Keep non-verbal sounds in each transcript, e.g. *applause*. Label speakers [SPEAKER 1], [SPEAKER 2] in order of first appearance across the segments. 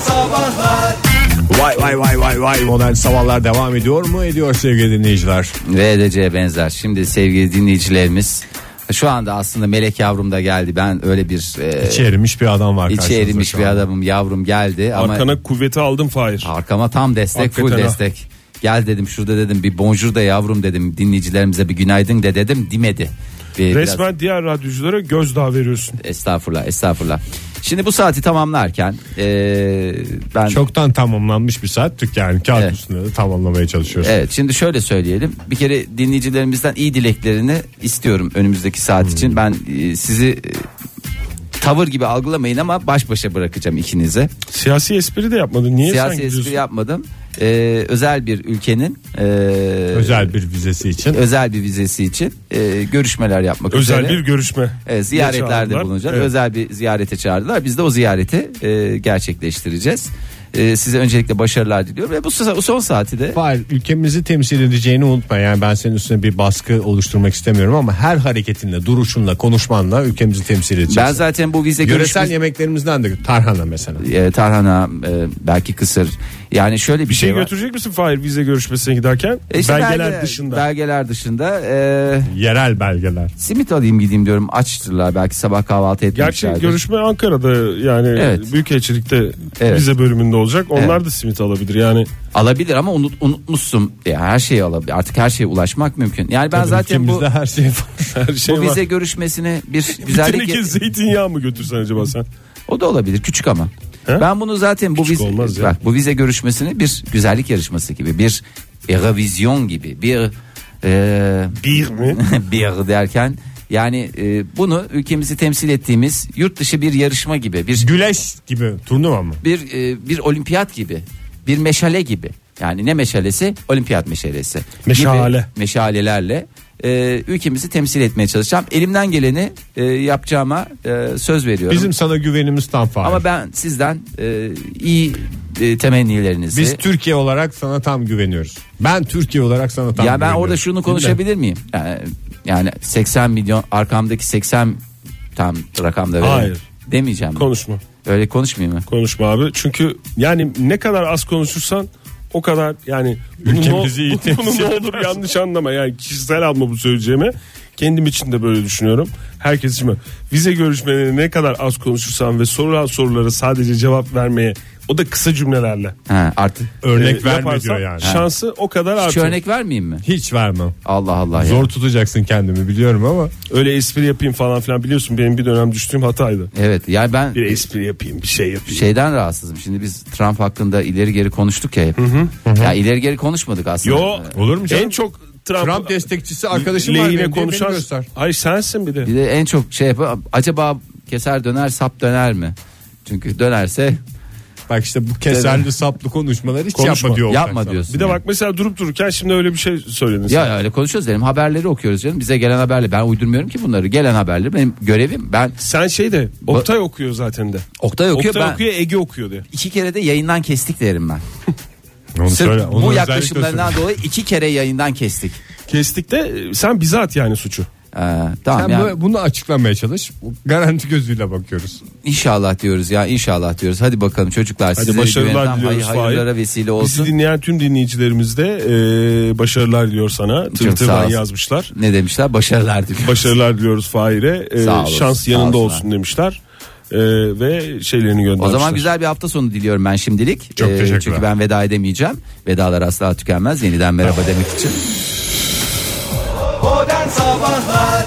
[SPEAKER 1] Sabahlar
[SPEAKER 2] Vay vay vay vay vay modern sabahlar devam ediyor mu? Ediyor sevgili dinleyiciler.
[SPEAKER 3] Ve edeceğe benzer. Şimdi sevgili dinleyicilerimiz şu anda aslında melek yavrum da geldi. Ben öyle bir e,
[SPEAKER 2] İçi erimiş bir adam var
[SPEAKER 3] içi
[SPEAKER 2] karşınızda
[SPEAKER 3] erimiş
[SPEAKER 2] şu
[SPEAKER 3] bir
[SPEAKER 2] anda.
[SPEAKER 3] adamım yavrum geldi ama
[SPEAKER 4] Arkana kuvveti aldım Fahir.
[SPEAKER 3] arkama tam destek full
[SPEAKER 4] Hakikaten ha.
[SPEAKER 3] destek. Gel dedim şurada dedim bir bonjour da yavrum dedim dinleyicilerimize bir günaydın de dedim dimedi. Bir, biraz-
[SPEAKER 4] Resmen diğer radyoculara gözdağı veriyorsun.
[SPEAKER 3] estağfurullah estağfurullah. Şimdi bu saati tamamlarken e, ben
[SPEAKER 2] Çoktan tamamlanmış bir saat Türk yani kağıt
[SPEAKER 3] Evet.
[SPEAKER 2] üstünde de tamamlamaya çalışıyoruz.
[SPEAKER 3] Evet şimdi şöyle söyleyelim. Bir kere dinleyicilerimizden iyi dileklerini istiyorum önümüzdeki saat
[SPEAKER 4] Hmm.
[SPEAKER 3] için. Ben e, sizi e, tavır gibi algılamayın ama baş başa bırakacağım ikinize.
[SPEAKER 4] Siyasi espri de yapmadın. Niye sen
[SPEAKER 3] Siyasi
[SPEAKER 4] gidiyorsun?
[SPEAKER 3] espri yapmadım. Ee, özel bir ülkenin e,
[SPEAKER 2] Özel bir vizesi için.
[SPEAKER 3] özel bir vizesi için e, görüşmeler yapmak
[SPEAKER 4] Özel
[SPEAKER 3] üzere.
[SPEAKER 4] bir görüşme.
[SPEAKER 3] Evet, e, ziyaretlerde
[SPEAKER 4] Çağırdılar.
[SPEAKER 3] bulunacak.
[SPEAKER 4] Evet.
[SPEAKER 3] Özel bir ziyarete çağırdılar. Biz de o ziyareti e, gerçekleştireceğiz. E, size öncelikle başarılar diliyorum ve bu sa- son saati de
[SPEAKER 2] Var ülkemizi temsil edeceğini unutma. Yani ben senin üstüne bir baskı oluşturmak istemiyorum ama her hareketinle, duruşunla, konuşmanla ülkemizi temsil edeceksin.
[SPEAKER 3] ben zaten bu vize
[SPEAKER 2] Yöresel
[SPEAKER 3] görüşmesi
[SPEAKER 2] yemeklerimizden de tarhana mesela.
[SPEAKER 3] e, tarhana e, belki kısır yani şöyle bir,
[SPEAKER 4] Bir şey
[SPEAKER 3] var.
[SPEAKER 4] götürecek misin Fahir vize görüşmesine giderken?
[SPEAKER 3] E işte
[SPEAKER 4] belgeler
[SPEAKER 3] belge-
[SPEAKER 4] dışında.
[SPEAKER 3] belgeler dışında e,
[SPEAKER 2] Yerel belgeler.
[SPEAKER 3] simit alayım gideyim diyorum açtırlar belki sabah kahvaltı
[SPEAKER 4] Gerçi
[SPEAKER 3] etmişlerdir
[SPEAKER 4] görüşme Ankara'da yani
[SPEAKER 3] Evet.
[SPEAKER 4] Büyükelçilik'te
[SPEAKER 3] Evet.
[SPEAKER 4] vize bölümünde olacak. Onlar
[SPEAKER 3] Evet.
[SPEAKER 4] da simit alabilir yani.
[SPEAKER 3] alabilir ama unut, unutmuşsun ya her şeyi alabilir artık her şeye ulaşmak mümkün yani Hani ben zaten bu
[SPEAKER 2] Ülkemizde her şey
[SPEAKER 4] *laughs*
[SPEAKER 2] var.
[SPEAKER 4] Her şey
[SPEAKER 3] bu
[SPEAKER 4] var.
[SPEAKER 3] vize görüşmesini
[SPEAKER 4] *laughs*
[SPEAKER 3] bir güzellik
[SPEAKER 4] Teneke zeytinyağı mı götürsen acaba sen?
[SPEAKER 3] o da olabilir küçük ama
[SPEAKER 4] He?
[SPEAKER 3] ben bunu zaten bu vize
[SPEAKER 4] olmaz ya.
[SPEAKER 3] bak, bu vize görüşmesini bir güzellik yarışması gibi bir revizyon gibi bir e,
[SPEAKER 4] Bir mi?
[SPEAKER 3] *laughs* bir derken yani e, bunu ülkemizi temsil ettiğimiz yurt dışı bir yarışma gibi bir
[SPEAKER 2] Güleş gibi turnuva mı?
[SPEAKER 3] bir e, bir olimpiyat gibi bir meşale gibi yani ne meşalesi olimpiyat meşalesi
[SPEAKER 4] Meşale.
[SPEAKER 3] Gibi meşalelerle e, ülkemizi temsil etmeye çalışacağım elimden geleni e, yapacağıma e, söz veriyorum
[SPEAKER 2] Bizim sana güvenimiz tam faal.
[SPEAKER 3] ama ben sizden e, iyi e, temennilerinizi
[SPEAKER 2] Biz Türkiye olarak sana tam güveniyoruz. Ben Türkiye olarak sana tam
[SPEAKER 3] Ya ben
[SPEAKER 2] güveniyorum.
[SPEAKER 3] orada şunu konuşabilir miyim? Yani, yani 80 milyon arkamdaki 80 tam rakamda verelim.
[SPEAKER 4] Hayır.
[SPEAKER 3] Demeyeceğim.
[SPEAKER 4] Konuşma.
[SPEAKER 3] Öyle konuşmayayım mı?
[SPEAKER 4] Konuşma abi. Çünkü yani ne kadar az konuşursan o kadar yani bunu
[SPEAKER 2] Ülkemizi
[SPEAKER 4] ne- *laughs*
[SPEAKER 2] iyi
[SPEAKER 4] bunu
[SPEAKER 2] temsil
[SPEAKER 4] ne olur yanlış anlama yani kişisel alma bu söyleyeceğimi kendim için de böyle düşünüyorum. Herkes için böyle. vize görüşmeleri ne kadar az konuşursan ve sorulan sorulara sadece cevap vermeye o da kısa cümlelerle
[SPEAKER 3] Ha, artık
[SPEAKER 2] örnek
[SPEAKER 4] e,
[SPEAKER 2] verme
[SPEAKER 4] yaparsan
[SPEAKER 2] diyor yani.
[SPEAKER 4] Şansı o kadar
[SPEAKER 3] hiç
[SPEAKER 4] artıyor.
[SPEAKER 3] örnek vermeyeyim mi?
[SPEAKER 2] Hiç vermem.
[SPEAKER 3] Allah Allah ya.
[SPEAKER 2] Zor tutacaksın kendimi biliyorum ama
[SPEAKER 4] Öyle espri yapayım falan filan biliyorsun benim bir dönem düştüğüm hataydı.
[SPEAKER 3] Evet yani ben
[SPEAKER 4] Bir espri yapayım bir şey yapayım.
[SPEAKER 3] şeyden rahatsızım. Şimdi biz Trump hakkında ileri geri konuştuk ya hep. Ya ileri geri konuşmadık aslında.
[SPEAKER 4] Yo
[SPEAKER 2] Olur mu canım?
[SPEAKER 4] En çok Trump,
[SPEAKER 2] Trump destekçisi arkadaşım var
[SPEAKER 4] lehine
[SPEAKER 2] benim diye
[SPEAKER 4] konuşan.
[SPEAKER 2] beni göster.
[SPEAKER 4] Hayır sensin bir de.
[SPEAKER 3] Bir de en çok şey yap acaba keser döner sap döner mi? Çünkü dönerse
[SPEAKER 2] Bak işte bu keserli saplı konuşmaları hiç
[SPEAKER 4] Konuşma.
[SPEAKER 2] yapma diyor.
[SPEAKER 3] yapma
[SPEAKER 2] olsak sana.
[SPEAKER 3] diyorsun.
[SPEAKER 4] Bir de
[SPEAKER 3] yani.
[SPEAKER 4] bak mesela durup dururken şimdi öyle bir şey söyledin. sen.
[SPEAKER 3] Ya öyle konuşuyoruz dedim. Haberleri okuyoruz canım. Bize gelen haberleri. Ben uydurmuyorum ki bunları. Gelen haberleri benim görevim. Ben
[SPEAKER 4] Sen şey de Oktay okuyor zaten de.
[SPEAKER 3] Oktay okuyor.
[SPEAKER 4] Oktay
[SPEAKER 3] ben
[SPEAKER 4] okuyor Ege okuyor diye.
[SPEAKER 3] iki kere de yayından kestik derim ben.
[SPEAKER 2] Onu
[SPEAKER 3] Sırf
[SPEAKER 2] söyle, onu
[SPEAKER 3] bu
[SPEAKER 2] özellikle
[SPEAKER 3] yaklaşımlarından dolayı iki kere yayından kestik.
[SPEAKER 4] Kestik de e, sen bize at yani suçu.
[SPEAKER 3] Ee, tamam
[SPEAKER 2] Sen
[SPEAKER 3] ya.
[SPEAKER 2] bu- bunu açıklamaya çalış. Garanti gözüyle bakıyoruz.
[SPEAKER 3] İnşallah diyoruz ya inşallah diyoruz. Hadi bakalım çocuklar size
[SPEAKER 4] başarılar
[SPEAKER 3] güvenen hay-
[SPEAKER 4] diliyoruz,
[SPEAKER 3] hayırlara vesile
[SPEAKER 4] Bizi
[SPEAKER 3] E, olsun.
[SPEAKER 4] dinleyen tüm dinleyicilerimiz de e, başarılar diliyor sana.
[SPEAKER 3] sağ
[SPEAKER 4] Twitter'dan
[SPEAKER 3] olsun.
[SPEAKER 4] yazmışlar.
[SPEAKER 3] Ne demişler? Başarılar diliyoruz.
[SPEAKER 4] Başarılar diliyoruz Fahir'e. E,
[SPEAKER 3] Sağ olasın,
[SPEAKER 4] şans
[SPEAKER 3] sağ
[SPEAKER 4] yanında
[SPEAKER 3] olsun
[SPEAKER 4] olsun, demişler. E, ve şeylerini
[SPEAKER 3] O
[SPEAKER 4] göndermişler.
[SPEAKER 3] zaman güzel bir hafta sonu diliyorum ben şimdilik. Ee,
[SPEAKER 2] Çok teşekkürler.
[SPEAKER 3] Çünkü ben veda edemeyeceğim. Vedalar asla tükenmez. Yeniden merhaba demek için.
[SPEAKER 1] Modern Sabahlar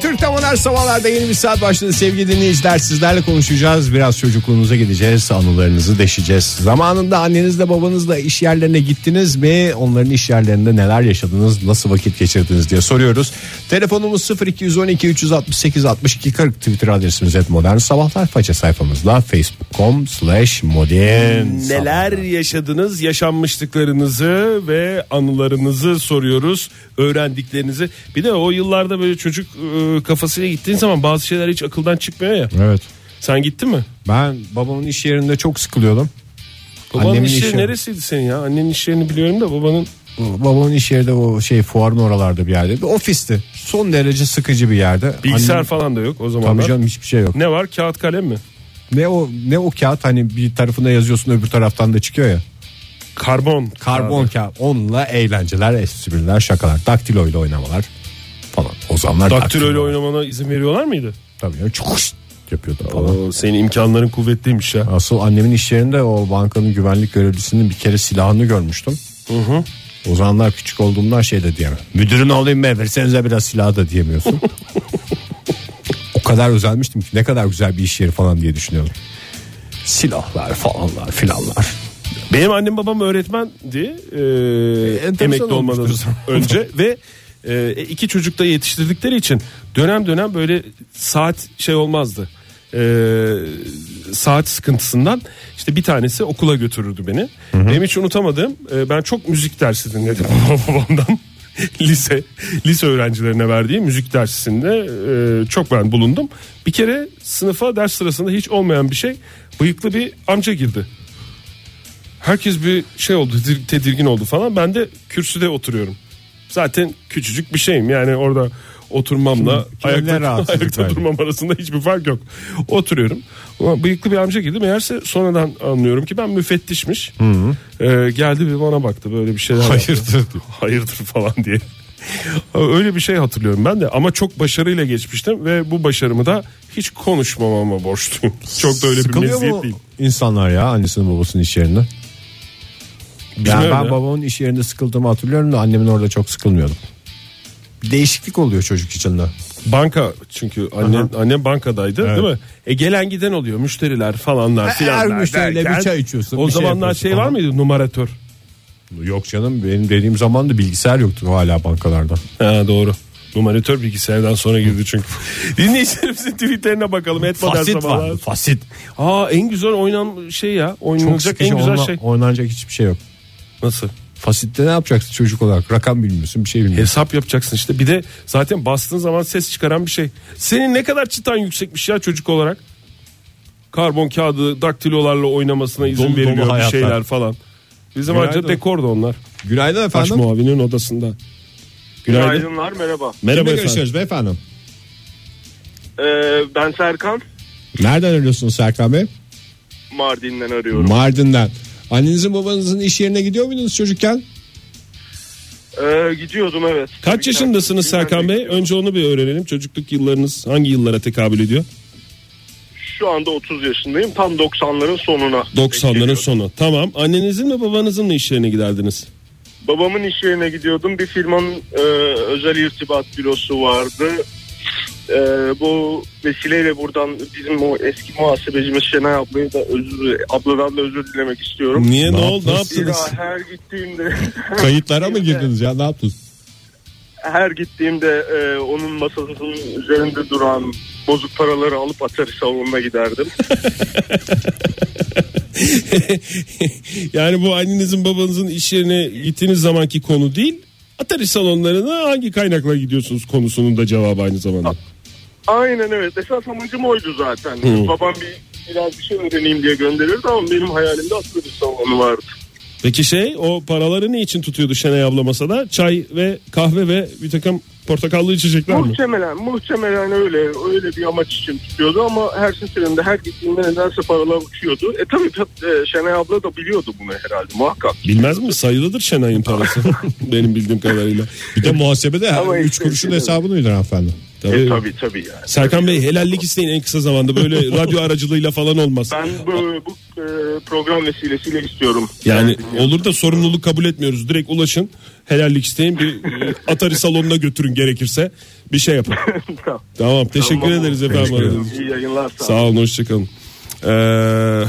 [SPEAKER 2] Türk'te modern sabahlarda yeni bir saat başladı sevgili dinleyiciler sizlerle konuşacağız biraz çocukluğunuza gideceğiz anılarınızı deşeceğiz zamanında annenizle babanızla iş yerlerine gittiniz mi onların iş yerlerinde neler yaşadınız nasıl vakit geçirdiniz diye soruyoruz telefonumuz 0212 368 62 40 twitter adresimiz et modern sabahlar faça sayfamızda facebook.com slash modern
[SPEAKER 4] Neler yaşadınız, yaşanmışlıklarınızı ve anılarınızı soruyoruz, öğrendiklerinizi. Bir de o yıllarda böyle çocuk e, kafasıyla gittiğin zaman bazı şeyler hiç akıldan çıkmıyor ya.
[SPEAKER 2] evet
[SPEAKER 4] Sen gittin mi?
[SPEAKER 2] ben babamın iş yerinde çok sıkılıyordum
[SPEAKER 4] Babanın
[SPEAKER 2] Annemin
[SPEAKER 4] iş
[SPEAKER 2] işi
[SPEAKER 4] yeri
[SPEAKER 2] mi?
[SPEAKER 4] neresiydi senin ya? Annenin iş yerini biliyorum da babanın
[SPEAKER 2] Babamın iş yeri de o şey fuarın oralarda bir yerde. Bir ofisti. Son derece sıkıcı bir yerde.
[SPEAKER 4] bilgisayar
[SPEAKER 2] Annem-
[SPEAKER 4] falan da yok o
[SPEAKER 2] Tabii
[SPEAKER 4] zamanlar.
[SPEAKER 2] canım hiçbir şey yok.
[SPEAKER 4] Ne var? Kağıt kalem mi?
[SPEAKER 2] Ne o ne o kağıt hani bir tarafına yazıyorsun öbür taraftan da çıkıyor ya.
[SPEAKER 4] Karbon.
[SPEAKER 2] Karbon kağıt. Onunla eğlenceler, espriler, şakalar, daktilo ile oynamalar falan. Ozanlar
[SPEAKER 4] Daktilo ile oynamana izin veriyorlar mıydı?
[SPEAKER 2] Tabii ya, çukuş yapıyordu falan.
[SPEAKER 4] Oo, senin imkanların kuvvetliymiş ya.
[SPEAKER 2] Asıl annemin iş yerinde o bankanın güvenlik görevlisinin bir kere silahını görmüştüm. O zamanlar küçük olduğumdan şey de diyemem. Müdürün olayım be versenize biraz silahı da diyemiyorsun. o kadar özenmiştim ki ne kadar güzel bir iş yeri falan diye düşünüyorum. Silahlar falanlar filanlar.
[SPEAKER 4] Benim annem babam öğretmendi. Ee, emekli
[SPEAKER 2] olmuştur.
[SPEAKER 4] olmadan *laughs* önce ve e, iki çocuk da yetiştirdikleri için dönem dönem böyle saat şey olmazdı. Ee, saat sıkıntısından işte bir tanesi okula götürürdü beni. Benim hiç unutamadığım e, ben çok müzik dersi dinledim *laughs* babamdan. lise lise öğrencilerine verdiği müzik dersinde e, çok ben bulundum. Bir kere sınıfa ders sırasında hiç olmayan bir şey bıyıklı bir amca girdi. Herkes bir şey oldu tedir- tedirgin oldu falan. Ben de kürsüde oturuyorum. Zaten küçücük bir şeyim yani orada oturmamla
[SPEAKER 2] Kim- kimler
[SPEAKER 4] ayakta, *laughs*
[SPEAKER 2] rahatsızlık
[SPEAKER 4] ayakta
[SPEAKER 2] verdi?
[SPEAKER 4] durmam arasında hiçbir fark yok. Oturuyorum. Ulan Bıyıklı bir amca girdi. Meğerse sonradan anlıyorum ki ben müfettişmiş. Ee, geldi bir bana baktı böyle bir şeyler yaptı. *laughs* Hayırdır falan diye. *laughs* Öyle bir şey hatırlıyorum ben de ama çok başarıyla geçmiştim ve bu başarımı da hiç konuşmamama borçluyum. *laughs* Çok da öyle bir
[SPEAKER 2] Sıkılıyor
[SPEAKER 4] meziyet
[SPEAKER 2] mu
[SPEAKER 4] değil.
[SPEAKER 2] insanlar ya annesinin babasının iş yerinde?
[SPEAKER 4] Bilmiyorum
[SPEAKER 2] Yani ben
[SPEAKER 4] ya.
[SPEAKER 2] babamın iş yerinde sıkıldığımı hatırlıyorum da annemin orada çok sıkılmıyordum. Bir Değişiklik oluyor çocuk içinde.
[SPEAKER 4] Banka çünkü annem, annem bankadaydı
[SPEAKER 2] Evet.
[SPEAKER 4] değil mi? E gelen giden oluyor müşteriler falanlar filanlar.
[SPEAKER 2] müşteriyle bir
[SPEAKER 4] derken,
[SPEAKER 2] çay içiyorsun,
[SPEAKER 4] O
[SPEAKER 2] bir şey
[SPEAKER 4] zamanlar
[SPEAKER 2] yapıyorsun
[SPEAKER 4] şey, var
[SPEAKER 2] falan.
[SPEAKER 4] mıydı numaratör?
[SPEAKER 2] Yok canım benim dediğim zaman da bilgisayar yoktu hala bankalarda.
[SPEAKER 4] Ha, doğru. Numaratör bilgisayardan sonra girdi çünkü. Dinleyicilerimizin tweetlerine bakalım. Et modern sabahlar.
[SPEAKER 2] fasit.
[SPEAKER 4] Aa en güzel oynan şey ya.
[SPEAKER 2] Çok
[SPEAKER 4] Oynanacak
[SPEAKER 2] sıkıcı
[SPEAKER 4] en güzel
[SPEAKER 2] oyna-
[SPEAKER 4] şey.
[SPEAKER 2] oynanacak hiçbir şey yok.
[SPEAKER 4] Nasıl?
[SPEAKER 2] Fasitte ne yapacaksın çocuk olarak? Rakam bilmiyorsun bir şey bilmiyorsun.
[SPEAKER 4] Hesap yapacaksın işte. Bir de zaten bastığın zaman ses çıkaran bir şey. Senin ne kadar çıtan yüksekmiş ya çocuk olarak. Karbon kağıdı daktilolarla oynamasına izin
[SPEAKER 2] Dolu dolu
[SPEAKER 4] veriliyor bir
[SPEAKER 2] hayatlar.
[SPEAKER 4] şeyler falan. Bizim
[SPEAKER 2] Günaydın.
[SPEAKER 4] ancak dekordu onlar.
[SPEAKER 2] Günaydın
[SPEAKER 4] Baş
[SPEAKER 2] efendim.
[SPEAKER 4] muavinin odasında. Günaydın.
[SPEAKER 5] Günaydınlar merhaba.
[SPEAKER 2] Kimle
[SPEAKER 4] Merhaba efendim.
[SPEAKER 2] görüşüyoruz beyefendi?
[SPEAKER 5] Ee, ben Serkan
[SPEAKER 2] Nereden arıyorsunuz Serkan Bey?
[SPEAKER 5] Mardin'den arıyorum.
[SPEAKER 2] Mardin'den. Annenizin babanızın iş yerine gidiyor muydunuz çocukken?
[SPEAKER 5] Ee, gidiyordum evet.
[SPEAKER 4] Kaç yaşındasınız Serkan Bey? Önce onu bir öğrenelim. Çocukluk yıllarınız hangi yıllara tekabül ediyor?
[SPEAKER 5] Şu anda 30 yaşındayım. Tam 90'ların sonuna.
[SPEAKER 4] 90'ların
[SPEAKER 5] geliyorum.
[SPEAKER 4] sonu. Tamam. Annenizin ve babanızın mı işlerine giderdiniz?
[SPEAKER 5] Babamın iş yerine gidiyordum. Bir firmanın e, özel irtibat bürosu vardı. E, bu vesileyle buradan bizim o eski muhasebecimiz Şenay ablayı da özür, abladan da özür dilemek istiyorum.
[SPEAKER 4] Niye ne,
[SPEAKER 2] Ne
[SPEAKER 4] oldu? Ne
[SPEAKER 5] Zira
[SPEAKER 4] yaptınız?
[SPEAKER 5] her gittiğimde
[SPEAKER 2] Kayıtlara
[SPEAKER 5] *laughs*
[SPEAKER 2] mı girdiniz ya ne yaptınız?
[SPEAKER 5] her gittiğimde e, onun masasının üzerinde duran bozuk paraları alıp atarı salonuna giderdim.
[SPEAKER 4] *laughs* yani bu annenizin babanızın iş yerine gittiğiniz zamanki konu değil. Atari salonlarına hangi kaynakla gidiyorsunuz konusunun da cevabı aynı zamanda.
[SPEAKER 5] Aynen evet. Esas amacım oydu zaten. Hani Babam bir biraz bir şey öğreneyim diye gönderirdi ama benim hayalimde aslında bir salonu vardı.
[SPEAKER 4] Peki şey o paraları ne için tutuyordu Şenay abla masada? Çay ve kahve ve bir takım portakallı içecekler mi?
[SPEAKER 5] Muhtemelen, muhtemelen öyle öyle bir amaç için tutuyordu ama her seferinde her gittiğinde nedense paralar uçuyordu. E tabii tab- e, Şenay abla da biliyordu bunu herhalde muhakkak.
[SPEAKER 4] Bilmez mi? Sayılıdır
[SPEAKER 5] *laughs*
[SPEAKER 4] Şenay'ın parası. Benim bildiğim kadarıyla.
[SPEAKER 2] Bir de muhasebede her
[SPEAKER 5] Ama
[SPEAKER 2] üç
[SPEAKER 5] işte-
[SPEAKER 2] kuruşun hesabını öder hanımefendi.
[SPEAKER 5] E,
[SPEAKER 4] Tabii.
[SPEAKER 5] tabii tabii yani.
[SPEAKER 4] Serkan Bey helallik isteyin en kısa
[SPEAKER 5] *laughs*
[SPEAKER 4] zamanda. Böyle radyo aracılığıyla falan olmaz.
[SPEAKER 5] Ben bu, bu e, program vesilesiyle istiyorum.
[SPEAKER 4] Yani olur da sorumluluk kabul etmiyoruz. Direkt ulaşın. Helallik isteyin. Bir e, Atari salonuna götürün gerekirse. Bir şey yapın.
[SPEAKER 5] *laughs* Tamam.
[SPEAKER 4] Tamam teşekkür
[SPEAKER 5] Tamam.
[SPEAKER 4] ederiz efendim. aradığınız için.
[SPEAKER 5] İyi yayınlar. Sağ
[SPEAKER 4] Sağ olun hoşçakalın. Ee,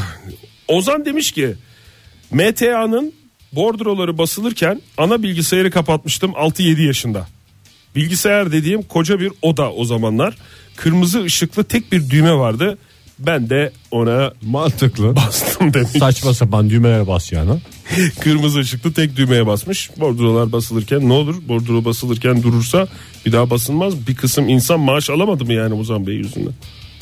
[SPEAKER 4] Ozan demiş ki MTA'nın bordroları basılırken ana bilgisayarı kapatmıştım 6-7 yaşında. Bilgisayar dediğim koca bir oda o zamanlar. Kırmızı ışıklı tek bir düğme vardı. Ben de ona *laughs*
[SPEAKER 2] Mantıklı.
[SPEAKER 4] bastım demiş.
[SPEAKER 2] Saçma sapan düğmelere bas yani.
[SPEAKER 4] *laughs* Kırmızı ışıklı tek düğmeye basmış. Bordrolar basılırken ne olur? Bordro basılırken durursa bir daha basılmaz. Bir kısım insan maaş alamadı mı yani Ozan Bey yüzünden?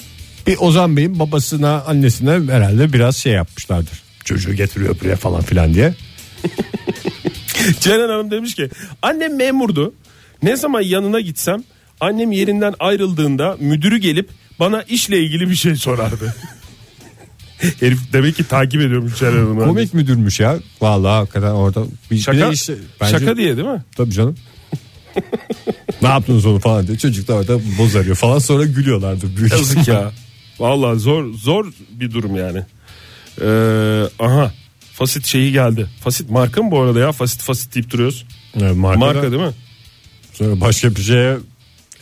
[SPEAKER 4] *laughs*
[SPEAKER 2] Bir Ozan Bey'in babasına annesine herhalde biraz şey yapmışlardır. Çocuğu getiriyor buraya falan filan diye.
[SPEAKER 4] Ceren Hanım demiş ki annem memurdu. Ne zaman yanına gitsem annem yerinden ayrıldığında müdürü gelip bana işle ilgili bir şey sorardı. *laughs* Herif demek ki takip ediyormuş Şener Hanım'ı.
[SPEAKER 2] Komik müdürmüş ya. Vallahi hakikaten orada. Bir- bir
[SPEAKER 4] Şaka,
[SPEAKER 2] de işte- bence-
[SPEAKER 4] şaka diye değil mi?
[SPEAKER 2] Tabii canım. *laughs* ne yaptınız onu falan diye. Çocuk da orada bozarıyor falan sonra gülüyorlardı. Büyük
[SPEAKER 4] Yazık ya. Vallahi zor zor bir durum yani. Ee, aha. Fasit şeyi geldi. Fasit marka mı bu arada ya? Fasit fasit deyip duruyoruz.
[SPEAKER 2] Yani marka,
[SPEAKER 4] Marka
[SPEAKER 2] da
[SPEAKER 4] değil mi?
[SPEAKER 2] sonra başka bir şeye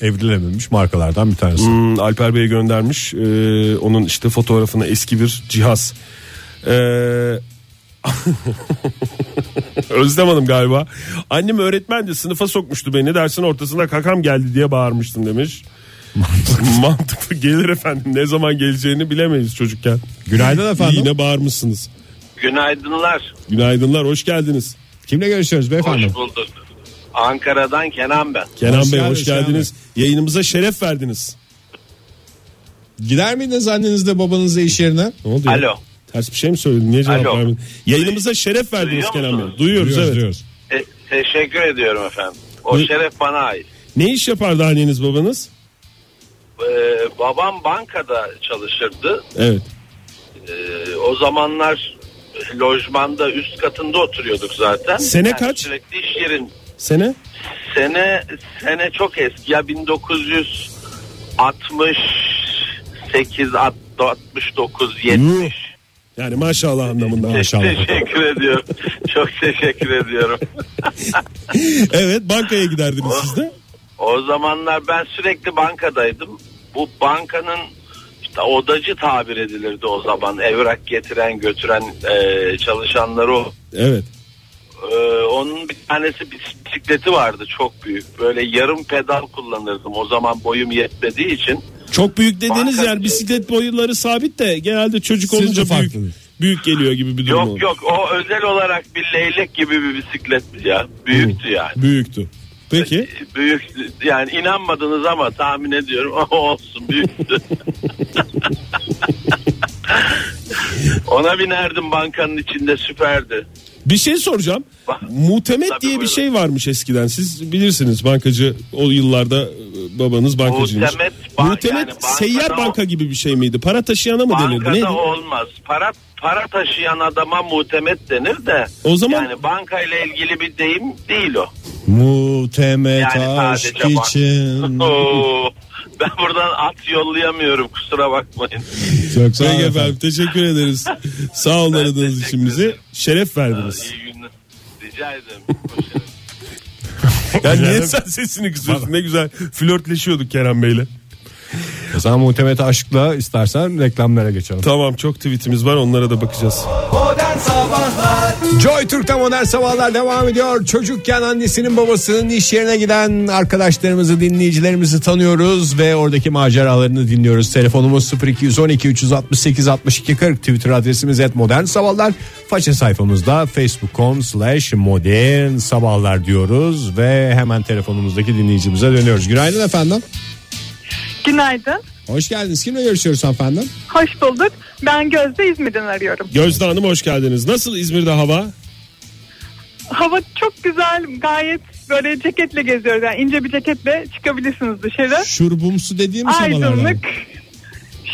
[SPEAKER 2] evrilememiş markalardan bir tanesi.
[SPEAKER 4] Hmm, Alper Bey göndermiş. Ee, onun işte fotoğrafını eski bir cihaz. Ee, *laughs* Özlem Hanım galiba. Annem öğretmendi sınıfa sokmuştu beni. Dersin ortasında kakam geldi diye bağırmıştım demiş. *laughs* Mantıklı gelir efendim. Ne zaman geleceğini bilemeyiz çocukken.
[SPEAKER 2] Günaydın efendim.
[SPEAKER 4] Yine bağırmışsınız.
[SPEAKER 6] Günaydınlar.
[SPEAKER 4] Günaydınlar hoş geldiniz.
[SPEAKER 2] Kimle görüşüyoruz beyefendi?
[SPEAKER 6] Hoş bulduk. Ankara'dan Kenan ben.
[SPEAKER 4] Kenan
[SPEAKER 2] Hoş
[SPEAKER 4] Bey
[SPEAKER 2] geldiniz,
[SPEAKER 4] hoş geldiniz. Yayınımıza şeref verdiniz.
[SPEAKER 2] Gider miydiniz annenizle babanızla iş yerine?
[SPEAKER 4] Ne oldu ya?
[SPEAKER 6] Alo.
[SPEAKER 4] Ters bir şey mi söyledin? Niye cevap
[SPEAKER 6] Alo.
[SPEAKER 4] vermedin? Yayınımıza şeref verdiniz
[SPEAKER 6] Duyuyor
[SPEAKER 4] Kenan Bey.
[SPEAKER 6] musunuz?
[SPEAKER 4] Duyuyoruz,
[SPEAKER 2] Diyoruz,
[SPEAKER 4] evet.
[SPEAKER 2] diyoruz.
[SPEAKER 6] Te- E, teşekkür ediyorum efendim. O
[SPEAKER 4] Buyur.
[SPEAKER 6] şeref bana ait.
[SPEAKER 4] Ne iş yapardı anneniz babanız?
[SPEAKER 6] Ee, babam bankada çalışırdı.
[SPEAKER 4] Evet.
[SPEAKER 6] Ee, o zamanlar lojmanda üst katında oturuyorduk zaten.
[SPEAKER 4] Sene kaç?
[SPEAKER 6] Sürekli iş yerin.
[SPEAKER 4] Sene?
[SPEAKER 6] Sene sene çok eski ya 1968 69
[SPEAKER 4] Hmm,
[SPEAKER 6] 70.
[SPEAKER 4] Yani maşallah anlamında.
[SPEAKER 6] Teşekkür ediyorum. Çok teşekkür ediyorum.
[SPEAKER 4] *laughs* evet bankaya giderdiniz siz de.
[SPEAKER 6] O zamanlar ben sürekli bankadaydım. Bu bankanın işte odacı tabir edilirdi o zaman. Evrak getiren götüren e, çalışanları o.
[SPEAKER 4] Evet.
[SPEAKER 6] E, onun bir tanesi bisikleti vardı çok büyük. Böyle yarım pedal kullanırdım. O zaman boyum yetmediği için.
[SPEAKER 4] Çok büyük dediğiniz
[SPEAKER 6] Banka-
[SPEAKER 4] yer bisiklet boyları sabit de genelde çocuk
[SPEAKER 2] Siz de
[SPEAKER 4] olunca büyük,
[SPEAKER 2] farklı.
[SPEAKER 4] büyük geliyor gibi bir durum
[SPEAKER 6] Yok
[SPEAKER 4] oldu.
[SPEAKER 6] yok o özel olarak bir leylek gibi bir bisikletti ya. Büyüktü yani.
[SPEAKER 4] Büyüktü. Peki
[SPEAKER 6] Büyük yani inanmadınız ama tahmin ediyorum *laughs* olsun büyüktü. *laughs* Ona binerdim bankanın içinde süperdi.
[SPEAKER 4] bir şey soracağım.
[SPEAKER 6] Ba-
[SPEAKER 4] Muhtemet
[SPEAKER 6] Tabii,
[SPEAKER 4] diye bir
[SPEAKER 6] buyurun.
[SPEAKER 4] şey varmış eskiden. Siz bilirsiniz bankacı o yıllarda e, babanız bankacıymış.
[SPEAKER 6] Muhtemet ba-
[SPEAKER 4] Muhtemet
[SPEAKER 6] yani bankada
[SPEAKER 4] seyyar
[SPEAKER 6] o-
[SPEAKER 4] banka gibi bir şey miydi? Para taşıyana mı denirdi? Neydi?
[SPEAKER 6] Bankada olmaz. Para para taşıyan adama muhtemet denir de.
[SPEAKER 4] O zaman-
[SPEAKER 6] yani bankayla ilgili bir deyim değil o.
[SPEAKER 2] Muhtemet
[SPEAKER 6] Yani
[SPEAKER 2] aşk
[SPEAKER 6] sadece bak. *laughs*
[SPEAKER 2] için.
[SPEAKER 6] Oo, ben buradan at yollayamıyorum kusura bakmayın.
[SPEAKER 2] Çok sağ olun
[SPEAKER 4] Peki
[SPEAKER 2] efendim.
[SPEAKER 4] efendim teşekkür
[SPEAKER 6] *laughs*
[SPEAKER 4] ederiz. Sağ olun aradığınız
[SPEAKER 6] teşekkür
[SPEAKER 4] için bizi.
[SPEAKER 6] ederim.
[SPEAKER 4] Şeref verdiniz.
[SPEAKER 6] İyi günler. Rica ederim. Hoşçakalın.
[SPEAKER 4] Ya niye
[SPEAKER 2] Güzel.
[SPEAKER 4] sen sesini kısıyorsun? Ne güzel flörtleşiyorduk Kerem Bey'le.
[SPEAKER 2] O zaman muhtemet aşkla istersen reklamlara geçelim.
[SPEAKER 4] Tamam çok tweetimiz var onlara da bakacağız.
[SPEAKER 1] Modern Sabahlar
[SPEAKER 2] Joy Türk'te modern sabahlar devam ediyor. Çocukken annesinin babasının iş yerine giden arkadaşlarımızı dinleyicilerimizi tanıyoruz ve oradaki maceralarını dinliyoruz. Telefonumuz 0212 368 62 40 Twitter adresimiz et modern sabahlar. Faça sayfamızda facebook.com slash modern sabahlar diyoruz ve hemen telefonumuzdaki dinleyicimize dönüyoruz. Günaydın efendim.
[SPEAKER 7] Günaydın.
[SPEAKER 2] Hoş geldiniz. Kimle görüşüyoruz efendim?
[SPEAKER 7] Hoş bulduk. Ben Gözde İzmir'den arıyorum.
[SPEAKER 4] Gözde Hanım hoş geldiniz. Nasıl İzmir'de hava?
[SPEAKER 7] Hava çok güzel. Gayet böyle ceketle geziyoruz. Yani ince bir ceketle çıkabilirsiniz dışarı.
[SPEAKER 2] Şurbumsu dediğimiz havalardan.
[SPEAKER 7] Aydınlık.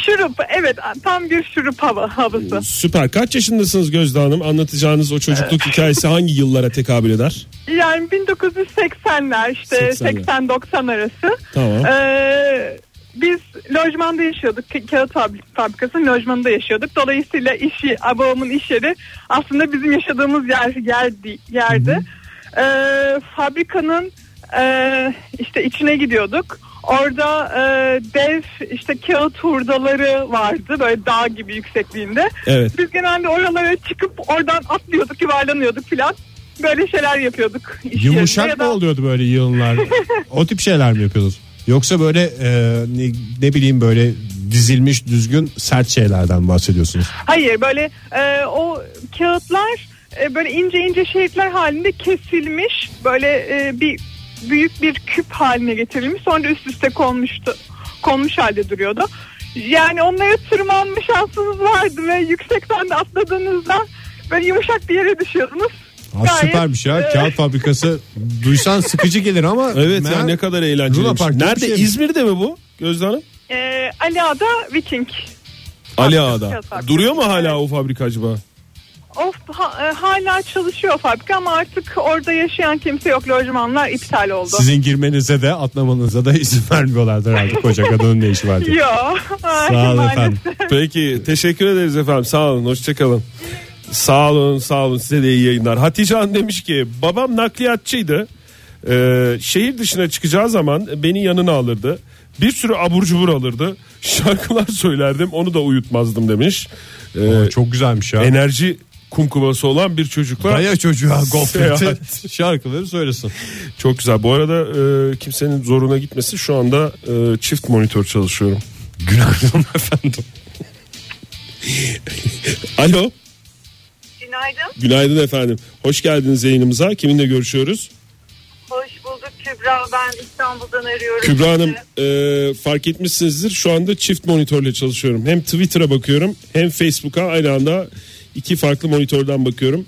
[SPEAKER 7] Şurup. Evet tam bir şurup hava, havası.
[SPEAKER 4] Süper. Kaç yaşındasınız Gözde Hanım? Anlatacağınız o çocukluk hikayesi hangi yıllara tekabül eder?
[SPEAKER 7] Yani 1980'ler işte
[SPEAKER 4] 80'ler.
[SPEAKER 7] 80-90 arası.
[SPEAKER 4] Tamam.
[SPEAKER 7] Ee, biz lojmanda yaşıyorduk. Ka- Kağıt fabri- fabrikasının lojmanında yaşıyorduk. Dolayısıyla işi, babamın iş yeri aslında bizim yaşadığımız yer, yerdi, yerdi. Ee, fabrikanın e, işte içine gidiyorduk. Orada e, dev işte kağıt hurdaları vardı böyle dağ gibi yüksekliğinde.
[SPEAKER 4] Evet.
[SPEAKER 7] Biz genelde oralara çıkıp oradan atlıyorduk, yuvarlanıyorduk filan. Böyle şeyler yapıyorduk. iş yerinde ya
[SPEAKER 2] Yumuşak
[SPEAKER 7] da-
[SPEAKER 2] mı oluyordu böyle yığınlar? o tip şeyler mi yapıyordunuz? Yoksa böyle e, ne, ne bileyim böyle dizilmiş düzgün sert şeylerden bahsediyorsunuz.
[SPEAKER 7] Hayır böyle e, o kağıtlar e, böyle ince ince şeritler halinde kesilmiş böyle e, bir büyük bir küp haline getirilmiş sonra üst üste konmuştu konmuş halde duruyordu. Yani onlara tırmanma şansınız vardı ve yüksekten de atladığınızda böyle yumuşak bir yere düşüyordunuz.
[SPEAKER 2] Ha,
[SPEAKER 7] Gayet,
[SPEAKER 2] süpermiş ya.
[SPEAKER 7] e,
[SPEAKER 2] Kağıt fabrikası duysan sıkıcı gelir ama.
[SPEAKER 4] *laughs* Evet
[SPEAKER 2] meğer-
[SPEAKER 4] ya ne kadar eğlenceli. şey.
[SPEAKER 2] Luna Park gibi bir
[SPEAKER 4] Nerede
[SPEAKER 2] şey mi?
[SPEAKER 4] İzmir'de mi bu Gözde Hanım?
[SPEAKER 7] e, Ali Ada E, Viking.
[SPEAKER 4] Ali
[SPEAKER 7] fabrikası,
[SPEAKER 4] Ağa'da.
[SPEAKER 7] kağıt fabrikası.
[SPEAKER 4] Duruyor mu hala o fabrika acaba?
[SPEAKER 7] Of ha- e, hala çalışıyor fabrika ama artık orada yaşayan kimse yok. Lojmanlar iptal oldu.
[SPEAKER 2] Sizin girmenize de atlamanıza da izin vermiyorlardır herhalde koca kadının ne
[SPEAKER 4] *laughs*
[SPEAKER 2] işi var diye.
[SPEAKER 7] Yok.
[SPEAKER 2] Sağ olun
[SPEAKER 7] *laughs* Maalesef.
[SPEAKER 2] efendim.
[SPEAKER 4] Peki teşekkür ederiz efendim. Sağ olun. Hoşçakalın. Sağ olun sağ olun size de iyi yayınlar. Hatice Hanım demiş ki babam nakliyatçıydı. Ee, şehir dışına çıkacağı zaman beni yanına alırdı. Bir sürü abur cubur alırdı. *laughs* Şarkılar söylerdim onu da uyutmazdım demiş. Ee,
[SPEAKER 2] Aa, Çok güzelmiş ya.
[SPEAKER 4] enerji kumkubası olan bir çocukla
[SPEAKER 2] Daya çocuğa
[SPEAKER 4] *laughs*
[SPEAKER 2] gofreti
[SPEAKER 4] Seyahat.
[SPEAKER 2] şarkıları söylesin.
[SPEAKER 4] çok güzel. Bu arada e, kimsenin zoruna gitmesin. Şu anda e, çift monitör çalışıyorum. *laughs*
[SPEAKER 2] Günaydın efendim.
[SPEAKER 4] Alo.
[SPEAKER 8] Günaydın.
[SPEAKER 4] Günaydın efendim. Hoş geldiniz yayınımıza. Kiminle görüşüyoruz?
[SPEAKER 8] Hoş bulduk Kübra. Ben İstanbul'dan arıyorum.
[SPEAKER 4] Kübra Hanım
[SPEAKER 8] sizi.
[SPEAKER 4] e, fark etmişsinizdir şu anda çift monitörle çalışıyorum. Hem Twitter'a bakıyorum hem Facebook'a aynı anda iki farklı monitörden bakıyorum.